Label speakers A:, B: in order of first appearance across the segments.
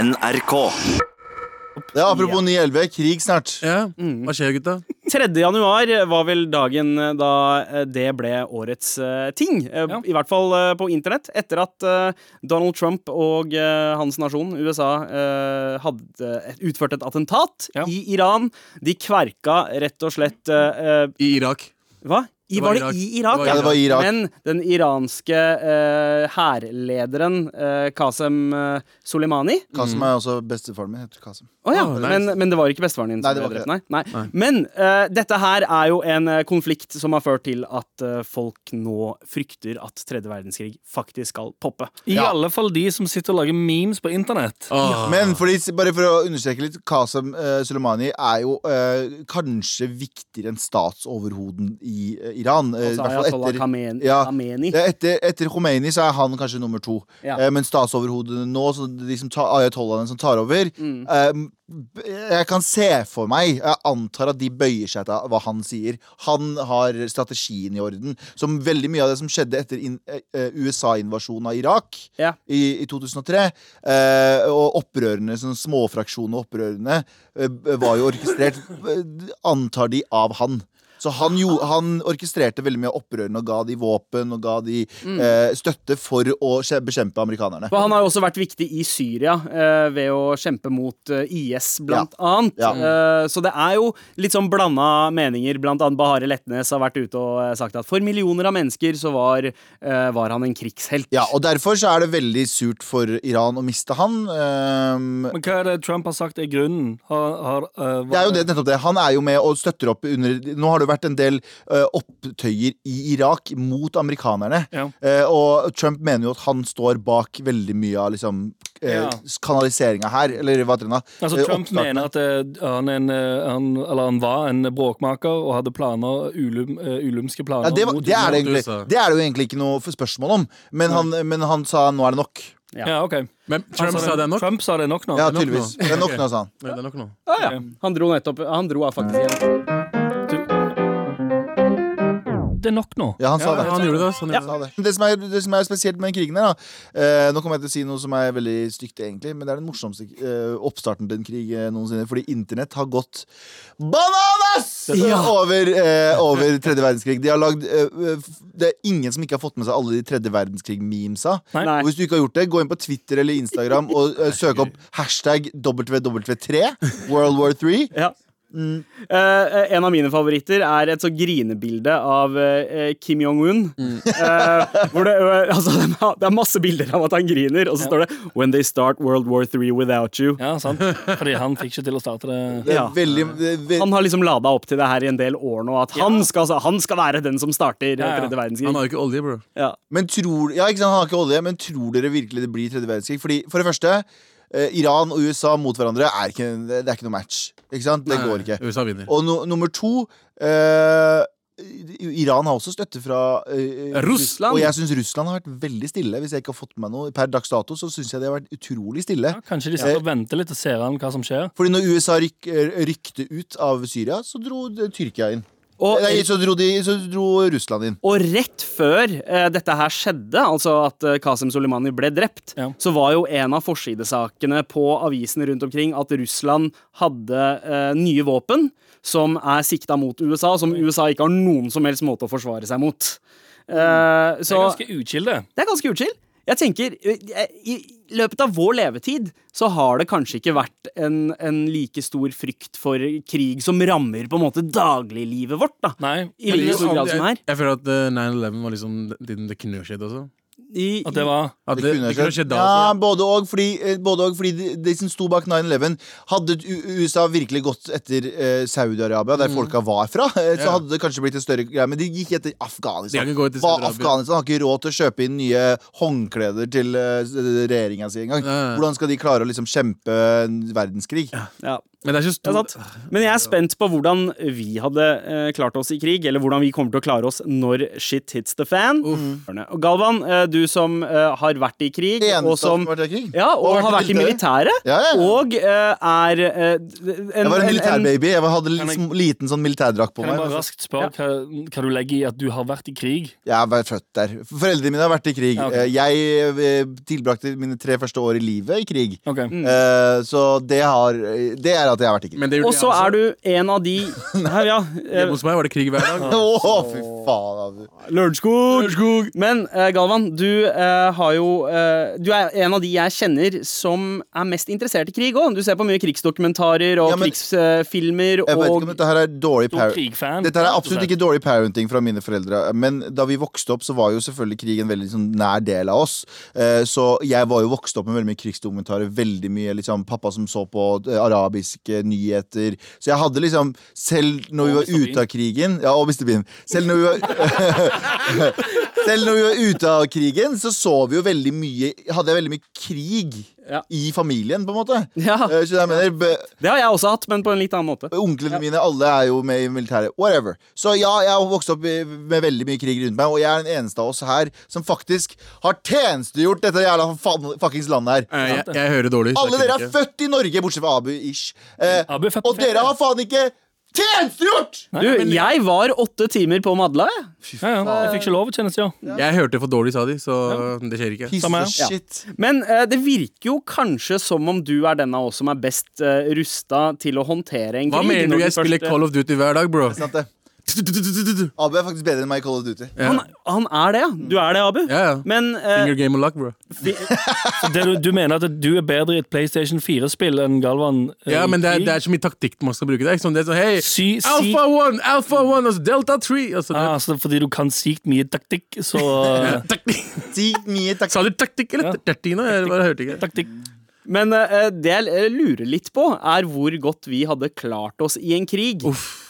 A: NRK.
B: Ja, apropos 9-11, krig snart.
C: Ja, Hva skjer, gutta?
D: 3. januar var vel dagen da eh, det ble årets eh, ting. eh,
C: Ja.
D: I hvert fall eh, på internett. Etter at eh, Donald Trump og eh, hans nasjon, USA, eh, hadde eh, utført et attentat
C: Ja.
D: i Iran. De kverka rett og slett eh, eh,
C: I Irak.
D: Hva? I,
C: Det var
D: var, det
C: Irak.
D: i Irak?
C: Det var Ja,
B: det var Irak.
D: Men den iranske eh, hærlederen eh, Qasem eh, Soleimani
B: Kasim er også bestefaren min. Heter Kasim.
D: Å ja,
C: Ah, nice.
D: men, men det var ikke bestefaren din
B: Nei,
D: som
B: det
D: ble
B: var
D: drept,
B: ikke
D: nei. nei. Men eh, dette her er jo en eh, konflikt som har ført til at eh, folk nå frykter at tredje verdenskrig faktisk skal poppe.
E: I
B: Ja.
E: alle fall de som sitter og lager memes på internett.
C: Åh.
B: Men fordi, bare for å understreke litt, Kasim uh, Soleimani er jo eh, kanskje viktigere enn statsoverhoden i eh, Iran. eh,
D: Og
B: i hvert
D: så er
B: fall
D: Altså Ayatollah
B: etter-
D: Kamen,
B: Ja.
D: Kameni.
B: Ja, etter, etter Khomeini så er han kanskje nummer to.
D: Ja.
B: Eh, men statsoverhodene nå, så de som tar, ayatollahene som tar over eh, b- Jeg kan se for meg Jeg antar at de bøyer seg til hva han sier. Han har strategien i orden. Som veldig mye av det som skjedde etter inn- eh, eh, USA-invasjonen av Irak
D: Ja.
B: i, i 2003, eh, og opprørene, sånn småfraksjoner og opprørene, eh, b- var jo orkestrert, eh, antar de, av han. Så han, jo, han orkestrerte veldig mye av opprørene og ga de våpen og ga de eh, støtte for å skje- bekjempe amerikanerne.
D: For han har jo også vært viktig i Syria eh, ved å kjempe mot eh, IS, blant annet.
B: Ja.
D: Eh, så det er jo litt sånn blanda meninger. Blant annet Bahareh Letnes har vært ute og eh, sagt at for millioner av mennesker så var, eh, var han en krigshelt.
B: Ja, og derfor så er det veldig surt for Iran å miste han. ehm,
E: Men hva er det Trump har sagt er grunnen? Har, har, eh, hva-
B: det er jo det, nettopp det. Han er jo med og støtter opp under Nå har det jo vært en del eh, opptøyer i Irak mot amerikanerne.
E: Ja.
B: Eh, og Trump mener jo at han står bak veldig mye av liksom uh,
E: Ja.
B: kanaliseringa her. Eller hva heter det? da?
E: Altså,
B: Eh,
E: Trump
B: oppstarten.
E: mener at eh, han, er en, eh, han, eller han var en bråkmaker og hadde planer, ulum, eh, ulumske planer
B: ja, det, var-
E: mot
B: det, er det,
C: mot
B: egentlig,
C: USA.
B: det er det jo egentlig ikke noe spørsmål om. Men han, men han sa nå er det nok.
D: Ja.
E: Ja, ok.
C: Men Trump
E: Han
C: sa det er nok.
E: Trump sa det er nok nå.
B: Ja,
C: nok nå.
B: tydeligvis. Det er nok nå, sa han.
C: Ja, det er nok nå.
D: Ah, ja. Han dro nettopp Han dro av faktisk igjen.
E: Det er nok nå.
B: Ja, han sa
C: Ja,
B: det.
C: han gjorde det. altså, Han gjorde det.
B: sa det. Det, som er, det som er spesielt med den krigen her, da eh, Nå kommer jeg til å si noe som er veldig stygt, egentlig, men det er den morsomste eh, oppstarten til en krig eh, noensinne. Fordi internett har gått bananas over, eh, over tredje verdenskrig. De har lagd eh, f- Det er ingen som ikke har fått med seg alle de tredje verdenskrig-memesa.
D: Nei.
B: Og hvis du ikke har gjort det, gå inn på Twitter eller Instagram og eh, søk opp hashtag WW3, World War 3.
D: Ja.
E: Mm.
D: Eh, eh, en av mine favoritter er et så grinebilde av eh, eh, Kim Jong-un.
E: Mm.
D: Eh, hvor det, eh, altså, det er ma- det er masse bilder av at han griner, og så står det 'When they start World War III without you'.
E: Ja, sant. Fordi han fikk ikke til å starte det.
B: Det er
D: Ja.
B: veldig, det er ve
D: Han har liksom lada opp til det her i en del år nå, at han, skal, altså, han skal være den som starter eh,
E: Ja, ja.
D: tredje verdenskrig.
C: Han har jo ikke olje, bro.
D: Ja.
B: Men tror, ja, ikke sant, han har ikke olje, men tror dere virkelig det blir tredje verdenskrig? Fordi, for det første, eh, Iran og USA mot hverandre er ikke, det er ikke noe match. Ikke sant? Det går ikke.
C: USA vinner.
B: Og no, nummer to eh, Iran har også støtte fra eh,
C: Russland.
B: Og jeg syns Russland har vært veldig stille. Hvis jeg ikke har fått med meg noe per dags dato, så syns jeg de har vært utrolig stille.
E: Ja, kanskje de sitter og venter litt og ser an hva som skjer.
B: Fordi når USA ryk, eh, rykte ut av Syria, så dro eh, Tyrkia inn.
D: Og,
B: Nei, så dro, de, så dro Russland inn.
D: Og rett før eh, dette her skjedde, altså at eh, Qasem Soleimani ble drept,
E: Ja.
D: så var jo en av forsidesakene på avisene rundt omkring at Russland hadde eh, nye våpen som er sikta mot USA, som USA ikke har noen som helst måte å forsvare seg mot. Eh,
E: Mm. Det er
D: så
E: ganske ukilde.
D: det er ganske utskill. Jeg tenker, eh, I løpet av vår levetid så har det kanskje ikke vært en, en like stor frykt for krig som rammer på en måte dagliglivet vårt. da.
E: Nei.
D: I like stor grad som her.
C: Jeg, jeg føler at eh, 9-11 var liksom tiden det kunne skjedd også.
D: I,
E: At det var
C: At det, det kunne skjedd da
B: Ja,
C: også.
B: både og, fordi, eh, både og, fordi de, de som sto bak 9-11 Hadde U- USA virkelig gått etter eh, Saudi-Arabia, der folka var fra, eh, så
C: Mm. Ja.
B: hadde det kanskje blitt en større greie. Men de gikk etter
C: De kan
B: Afghanistan.
C: ikke gå til
B: Hva,
C: Saudi-Arabia.
B: Afghanistan har ikke råd til å kjøpe inn nye håndkleder til uh, regjeringa si engang.
C: Nei.
B: Hvordan skal de klare å liksom kjempe en verdenskrig?
D: ja.
C: Men det er ikke
D: Det er
C: stort.
D: sant. Men jeg er spent på hvordan vi hadde eh, klart oss i krig, eller hvordan vi kommer til å klare oss når shit hits the fan. Og Galvan, eh, du som eh, har vært i krig,
B: Det eneste
D: og som
B: som har vært i krig.
D: ja, og, har vært i militæret,
B: Ja, ja.
D: og eh, er eh, en,
B: Jeg var en
D: en-
B: militærbaby. Jeg hadde litt,
E: Kan jeg-
B: sm- liten sånn militærdrakt på
E: Kan jeg
B: meg.
E: bare raskt spørre hva, hva du legger i at du har vært i krig?
B: Jeg er bare født der. Foreldrene mine har vært i krig.
E: Ja, ok.
B: Eh, Jeg eh, tilbrakte mine tre første år i livet i krig.
E: Ok.
B: Eh, Så det, har, det er at jeg har vært i krig.
C: Men det gjorde
D: Og så
C: jeg også.
D: er du en av de Nei, ja, eh,
C: Hjemme hos meg var det krig hver dag.
B: Å, fy faen. altså.
D: Lørenskog!
C: Lørenskog.
D: Men eh, Galvan, du eh, har jo eh, Du er en av de jeg kjenner som er mest interessert i krig òg. Du ser på mye krigsdokumentarer og
B: Ja, men- Jeg
D: krigsfilmer
B: vet ikke
D: og
B: om dette her er dårlig
E: Stor
B: par-
E: krigfan.
B: Dette her er absolutt ikke dårlig parenting fra mine foreldre, men da vi vokste opp, så var jo selvfølgelig krig en veldig sånn nær del av oss. Eh, Så jeg var jo vokst opp med veldig mye krigsdokumentarer, veldig mye liksom pappa som så på eh, arabiske nyheter. Så jeg hadde liksom, selv når vi
E: Og
B: var
E: Mr. Bean.
B: ute av krigen Ja, og Mr. Bean. Selv når vi var Selv når vi var ute av krigen, så så vi jo veldig mye Hadde jeg veldig mye krig
D: Ja.
B: i familien, på en måte.
D: Ja.
B: Eh, Så jeg mener be-
D: Det har jeg også hatt, men på en litt annen måte.
B: Onklene mine, alle er jo med i militæret. Whatever. Så ja, jeg har vokst opp i- med veldig mye krig rundt meg, og jeg er den eneste av oss her som faktisk har tjenestegjort dette jævla fa- fuckings landet her.
C: Eh, Jeg, jeg hører dårlig. så
B: Alle
C: jeg
B: dere
C: kunne
B: er
C: ikke.
B: født i Norge, bortsett fra Abu Ish. Eh,
E: Abu er født på
B: og dere har faen ikke tjenestegjort!
D: Du, jeg var åtte timer på Madla, jeg.
E: Ja, ja. Jeg fikk ikke lov å tjenestegjøre.
C: Jeg hørte for dårlig, sa de, så det skjer ikke.
B: Piece
E: Samme
B: of
E: her.
B: shit.
D: Men eh, det virker jo kanskje som om du er den av oss som er best eh, rusta til å håndtere en krig.
C: Hva mener du?
D: når
C: Jeg
D: først,
C: spiller
D: eh,
C: Call of Duty hver dag, bro.
B: Sant det?
C: Ja,
B: Abu er faktisk bedre enn meg i Call of Duty.
D: eh, han, han er det, ja. Du er det, Abu.
C: Mm. ja.
D: Men eh,
C: Finger game of luck, bro.
E: Så det du, du mener at du er bedre i et PlayStation 4-spill enn Galvan? eh,
C: Ja,
E: i
C: men det er,
E: krig?
C: det er så mye taktikk man skal bruke. Det er ikke sånn, det er sånn hei,
E: Sy- sy-
C: Alpha 1, Alpha 1, altså Delta 3 altså, det,
E: Ah, altså, fordi du kan sykt mye taktikk, så eh,
C: er taktikk.
B: Ti, ni, takk.
C: Sa du taktikk eller tertina? Jeg bare hørte ikke.
E: Taktikk.
D: Men eh, det jeg eh, lurer litt på, er hvor godt vi hadde klart oss i en krig.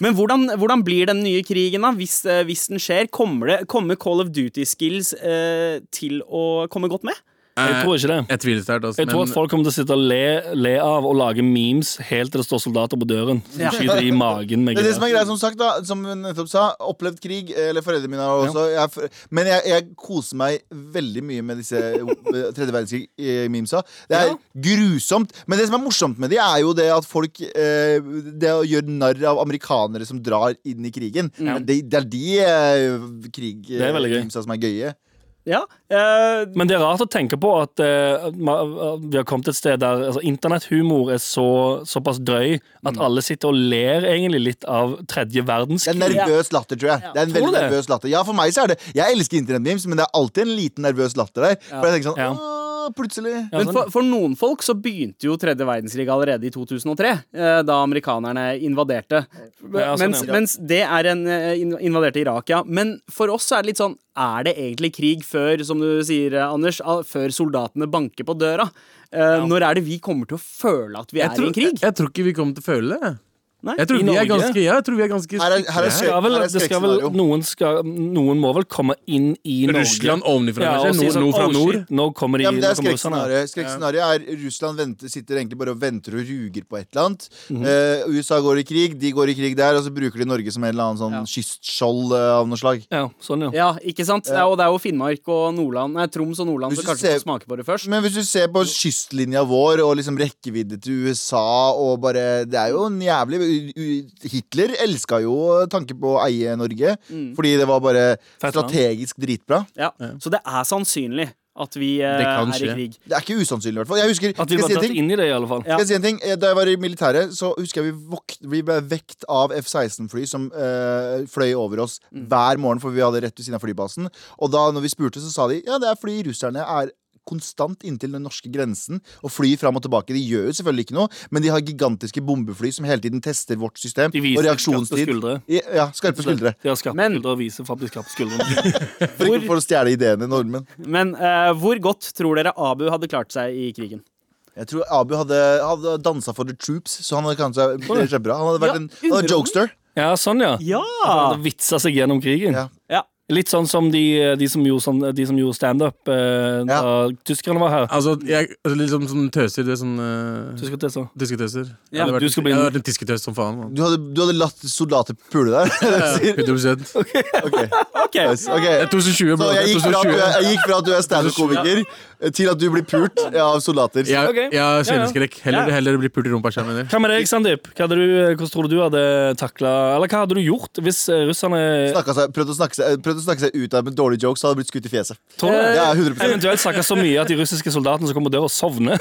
D: Men hvordan, hvordan blir den nye krigen, da? Hvis, eh, hvis den skjer, kommer, det, kommer Call of Duty-skills eh, til å komme godt med?
E: Jeg tror ikke det.
C: Jeg tviler sterkt, altså.
E: Jeg tror at folk kommer til å sitte og le, le av og lage memes helt til det står soldater på døren. Som
D: Ja.
E: skyter i magen med
B: Det er det som er
E: gevær.
B: greia, som sagt, da. Som hun nettopp sa. Opplevd krig. eh, Eller foreldrene mine har også. Jeg, er for- men jeg, jeg koser meg veldig mye med disse eh, tredje verdenskrig-memesa. Det er grusomt. Men det som er morsomt med de, er jo det at folk eh, Det å gjøre narr av amerikanere som drar inn i krigen. Det, det er de eh, krig
E: er veldig gøy.
B: memesa som er gøye.
D: Ja. eh,
E: Men det er rart å tenke på at eh, ma- at vi har kommet et sted der altså, internetthumor er så, såpass drøy
B: Mm.
E: at alle sitter og ler egentlig litt av tredje
B: Det er
E: verdenskrig.
B: nervøs latter, tror jeg. Det er en
E: Tror
B: veldig
E: du det?
B: nervøs latter Ja, for meg så er det Jeg elsker internettmemes, men det er alltid en liten nervøs latter der. For jeg tenker sånn
E: Ja.
B: «Åh, Plutselig.
E: Ja,
D: Men for, for noen folk så begynte jo tredje verdenskrig allerede i 2003, eh, da amerikanerne invaderte.
E: Ja, sånn,
D: mens,
E: ja.
D: mens det er en eh, inv- invaderte Irak, ja. Men for oss så er det litt sånn Er det egentlig krig før, som du sier, eh, Anders, ah, før soldatene banker på døra? Eh, Når er det vi kommer til å føle at vi er
C: jeg tror,
D: i en krig?
C: Jeg, jeg tror ikke vi kommer til å føle det.
D: Nei,
C: Jeg tror
E: i
C: vi er
E: Norge.
C: ganske Ja, jeg tror vi er ganske
B: Her er- her er
E: Det skal vel, det skal vel, noen, skal, noen må vel komme inn i Norge.
C: Russland ovenifra,
E: Ja, og
C: kanskje?
E: si
C: Nord,
E: sånn,
C: nord fra
E: «Oh,
C: nord?
E: shit, Nå kommer de sånn,
B: Ja, men det er
E: nå kommer russerne».
B: skrekkscenarioet. Skrekkscenarioet er Russland venter, sitter egentlig bare og venter og ruger på et eller annet.
E: Mhm.
B: Eh, USA går i krig, de går i krig der, og så bruker de Norge som en eller annen sånn kystskjold eh, av noe slag.
E: Ja, sånn, ja.
D: Ja, ikke sant? Ja, og det er jo Finnmark og Nordland Nei, Troms og Nordland
B: Hvis du
D: som kanskje
B: ser-
D: får smake på det først.
B: Men hvis du ser på kystlinja vår og liksom rekkevidde til USA og bare Det er jo en jævlig u- u- Hitler elska jo tanken på å eie Norge, fordi det var
E: Mm.
B: bare
E: Fett land.
B: strategisk dritbra.
D: Ja. Så det er sannsynlig at vi eh,
C: Det kan
D: er i
C: skje.
D: krig.
B: Det er ikke usannsynlig, i hvert fall. Jeg husker
E: At vi
B: skal jeg
E: var
B: si en
E: tatt
B: ting?
E: inn i det, i alle fall.
D: Ja.
B: Skal jeg si en ting? Eh, Da jeg var i militæret, så husker jeg vi, vok vi ble vekt av F-16-fly som eh, fløy over oss
E: Mm.
B: hver morgen, for vi hadde rett ved siden av flybasen. Og da når vi spurte, så sa de ja, det er fordi russerne er konstant inntil den norske grensen og flyr fram og tilbake. De gjør jo selvfølgelig ikke noe, men de har gigantiske bombefly som hele tiden tester vårt system
E: De viser
B: og reaksjonstid.
E: skarpe skuldre.
B: I- Ja, skarpe skuldre.
E: De har skarpe
D: Men-
E: skuldre og viser fram de skarpe skuldrene.
B: For, ikke for å stjele ideene, nordmenn.
D: Men eh, hvor godt tror dere Abu hadde klart seg i krigen?
B: Jeg tror Abu hadde, hadde dansa for the troops, så han hadde kanskje det er bra. Han hadde vært en, han
D: underholdning.
B: hadde jokester.
E: Ja, sånn, ja.
D: Ja!
E: Vitsa seg gjennom krigen.
B: Ja.
D: Ah. Ja,
E: Litt sånn som de, de som gjorde, sånn, de som gjorde standup eh, da tyskerne var her.
C: Altså, jeg, altså litt sånn, sånn tøser. Det er sånn eh,
E: Tysker til, så.
C: Tyske tøser.
E: Ja,
C: jeg, hadde
E: du
C: vært,
E: skal bli-
C: jeg hadde vært en tysketøs som faen. altså. Man.
B: Du hadde, du hadde latt soldater pule der? Sier-
C: 100
B: Ok,
E: Ok,
B: nice. Ok.
C: 2020,
B: Så
C: bro.
B: jeg
C: det er
B: gikk fra at du
C: 2020.
B: er, jeg gikk fra at du er standup-komiker, til at du blir pult av soldater.
C: Jeg,
E: Ok.
C: jeg har
E: Ja, ja.
C: sceneskrekk. Heller,
E: Ja.
C: heller bli pult i rumpa. skjønner jeg.
E: Hva med deg, Sandeep? Hva hadde du, eh, hvordan tror du du hadde takla Eller hva hadde du gjort hvis eh, russerne
B: Snakka Seg, prøvde, å snakke seg, prøvde å snakke seg ut av med dårlige jokes, så hadde jeg blitt skutt i fjeset.
E: Tror du
D: Eh,
E: det?
B: Ja, 100
E: Eventuelt snakka så mye at de russiske soldatene som kommer døra, sovner.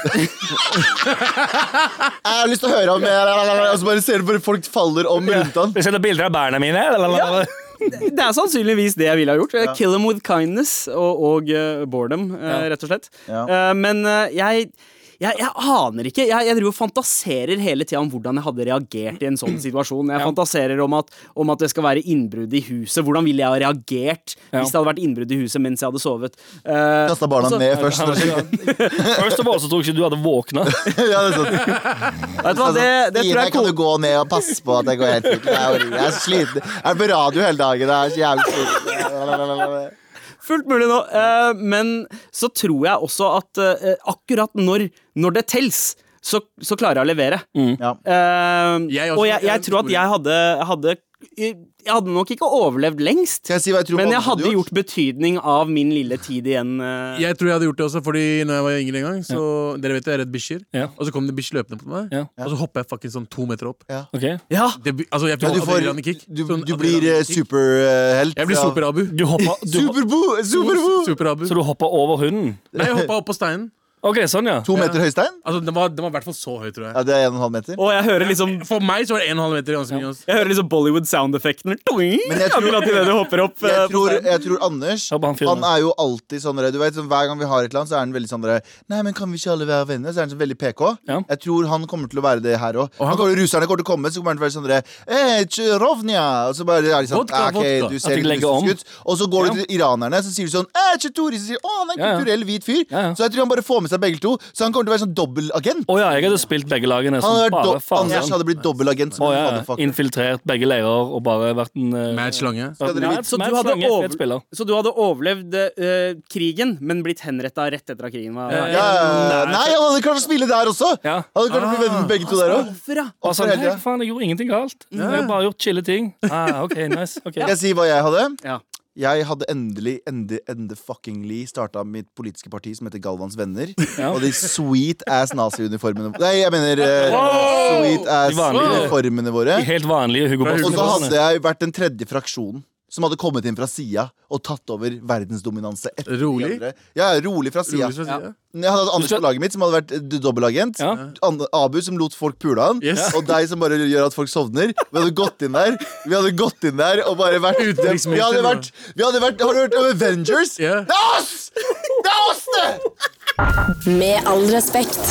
D: eh,
B: Jeg har lyst til å høre om mer, og så bare ser du bare folk faller om rundt han.
E: Jeg setter bilder av beina mine. lalalala.
D: Det er sannsynligvis det jeg ville ha gjort. Kill them with kindness og, og eh, boredom, eh, rett og slett.
B: Ja.
D: Eh, men eh, jeg, jeg, jeg aner ikke. Jeg, jeg driver og fantaserer hele tida om hvordan jeg hadde reagert i en sånn situasjon. Jeg fantaserer om at, om at det skal være innbrudd i huset. Hvordan ville jeg ha reagert
E: Ja.
D: hvis det hadde vært innbrudd i huset mens jeg hadde sovet? Eh,
B: Kasta barna
D: altså,
B: ned først.
E: First of all, så tror jeg ikke du hadde våkna.
B: ja, det er sant.
D: Vet du hva, det, det
B: Ine,
D: tror jeg
B: altså, kan
D: kom...
B: du gå ned og passe på at det går helt fint? Jeg orker- jeg er så sliten. Jeg er på radio hele dagen. Jeg er så jævlig sliten.
D: Fullt mulig nå. eh, men så tror jeg også at eh, akkurat når, når det tels, så, så klarer jeg å levere.
B: Ja.
D: Eh,
C: Jeg også-
D: og jeg, jeg
C: jeg
D: tror at
C: tror-
D: jeg hadde, hadde Jeg hadde nok ikke overlevd lengst,
B: Skal jeg si hva jeg tror
D: men jeg
B: andre
D: hadde gjort betydning av min lille tid igjen. eh.
C: Jeg tror jeg hadde gjort det også, Fordi når jeg var yngre en gang, så Dere vet jeg er redd bikkjer.
E: Ja.
C: Og så kom det bikkj løpende på meg,
E: Ja.
C: og så hopper jeg fucking sånn to meter opp.
E: Ok
D: Ja,
C: Det, by- altså, jeg
B: Ja,
C: får,
B: du, får,
C: adrenalinkick.
B: du,
C: Sånn
B: du blir eh,
C: adrenalinkick.
B: superhelt.
C: Jeg blir
B: fra-
C: Super-Abu.
E: Du hoppa, du,
B: Superbo! Superbo!
C: Super-Abu.
E: så du hoppa over hunden?
C: Nei, jeg hoppa opp på steinen.
E: Ok, sånn, ja.
B: To meter høystein?
C: Altså, Den var, den var i hvert fall så høy, tror jeg.
B: Ja, det er en og en halv meter.
D: og jeg hører liksom
C: For meg så var det 1,5 meter ganske mye. ass.
D: Jeg hører liksom Bollywood sound-effekten.
B: Men jeg tror-
D: Akkurat idet du hopper opp. eh,
B: Jeg
D: på
B: tror,
D: scenen.
B: jeg tror Anders
E: Ja, på han fyren
B: Han er jo alltid sånn der, du vet, sånn, Hver gang vi har et eller annet, så er han veldig sånn der, Nei, men kan vi ikke alle være venner? Så er han så veldig PK.
E: Ja.
B: Jeg tror han kommer til å være det her òg. Russerne kommer til å komme, så kommer han til å være sånn der, «Eh, Tsjerovnia!» Og så bare er de sånn
C: Vodka,
B: «Ah, ok,
C: vodka.
B: du
E: At
B: ser
E: de
B: litt
E: legger om.
B: russisk ut. Og så går du
E: Ja.
B: til iranerne, så sier du sånn «Eh, Tjetori!» Så sier de, Å, han er en
E: Ja, ja.
B: kulturell hvit fyr.
E: Ja, ja.
B: Så jeg tror han bare får med seg begge to. Så han kommer til å være sånn dobbeltagent.
E: Å ja, jeg hadde spilt begge lagene
B: Han
E: som
B: hadde vært
E: bare
B: do
E: faen. sånn.
B: Anders hadde blitt dobbeltagent som
E: Å
B: en
E: ja, ja.
B: motherfucker.
E: Infiltrert begge leirer og bare vært en eh,
C: Med et slange.
E: vært en-
B: dere vite-
E: Mads-
D: Så du
E: Mads
D: hadde
E: Lange,
D: over-
E: fet spiller.
D: Så du hadde overlevd eh, krigen, men blitt henretta rett etter at krigen var
E: Eh,
B: Ja, ja, ja. Nei, han hadde klart å spille der også!
E: Ja.
B: Han hadde klart å bli venn med begge to der òg.
D: Hvorfor, da?
E: Og
B: for
E: sånn,
B: helga.
E: Nei, faen, jeg gjorde ingenting galt. Jeg har bare gjort chille ting. Ah, ok, nice. ok.
B: Skal jeg si hva jeg hadde?
D: Ja.
B: Jeg hadde endelig, ende, ende fuckingly starta mitt politiske parti som heter Galvans Venner.
E: Ja.
B: Og de sweet ass nazi-uniformene Nei, jeg mener eh, sweet ass
E: De vanlige.
B: uniformene våre.
E: De helt vanlige Hugo
C: Fra Hugo
B: Og så
E: Boss.
B: hadde jeg vært den tredje fraksjonen som hadde kommet inn fra sida og tatt over verdensdominanse. etter de
C: Rolig?
B: andre. Ja, rolig fra sida.
C: Rolig, så å si,
D: Ja.
C: ja.
B: Jeg hadde hatt Anders
E: skal-
B: på laget mitt, som hadde vært eh, dobbeltagent.
E: Ja.
B: An- Abu, som lot folk pule han.
C: Yes.
B: Og deg, som bare gjør at folk sovner. Vi hadde gått inn der Vi hadde gått inn der og bare vært Vi
C: Utenriksminister,
B: hadde vært, vi hadde vært Har du hørt om Avengers?
C: Ja.
B: Det er oss! Det er oss, det!
A: Med all respekt.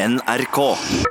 F: NRK.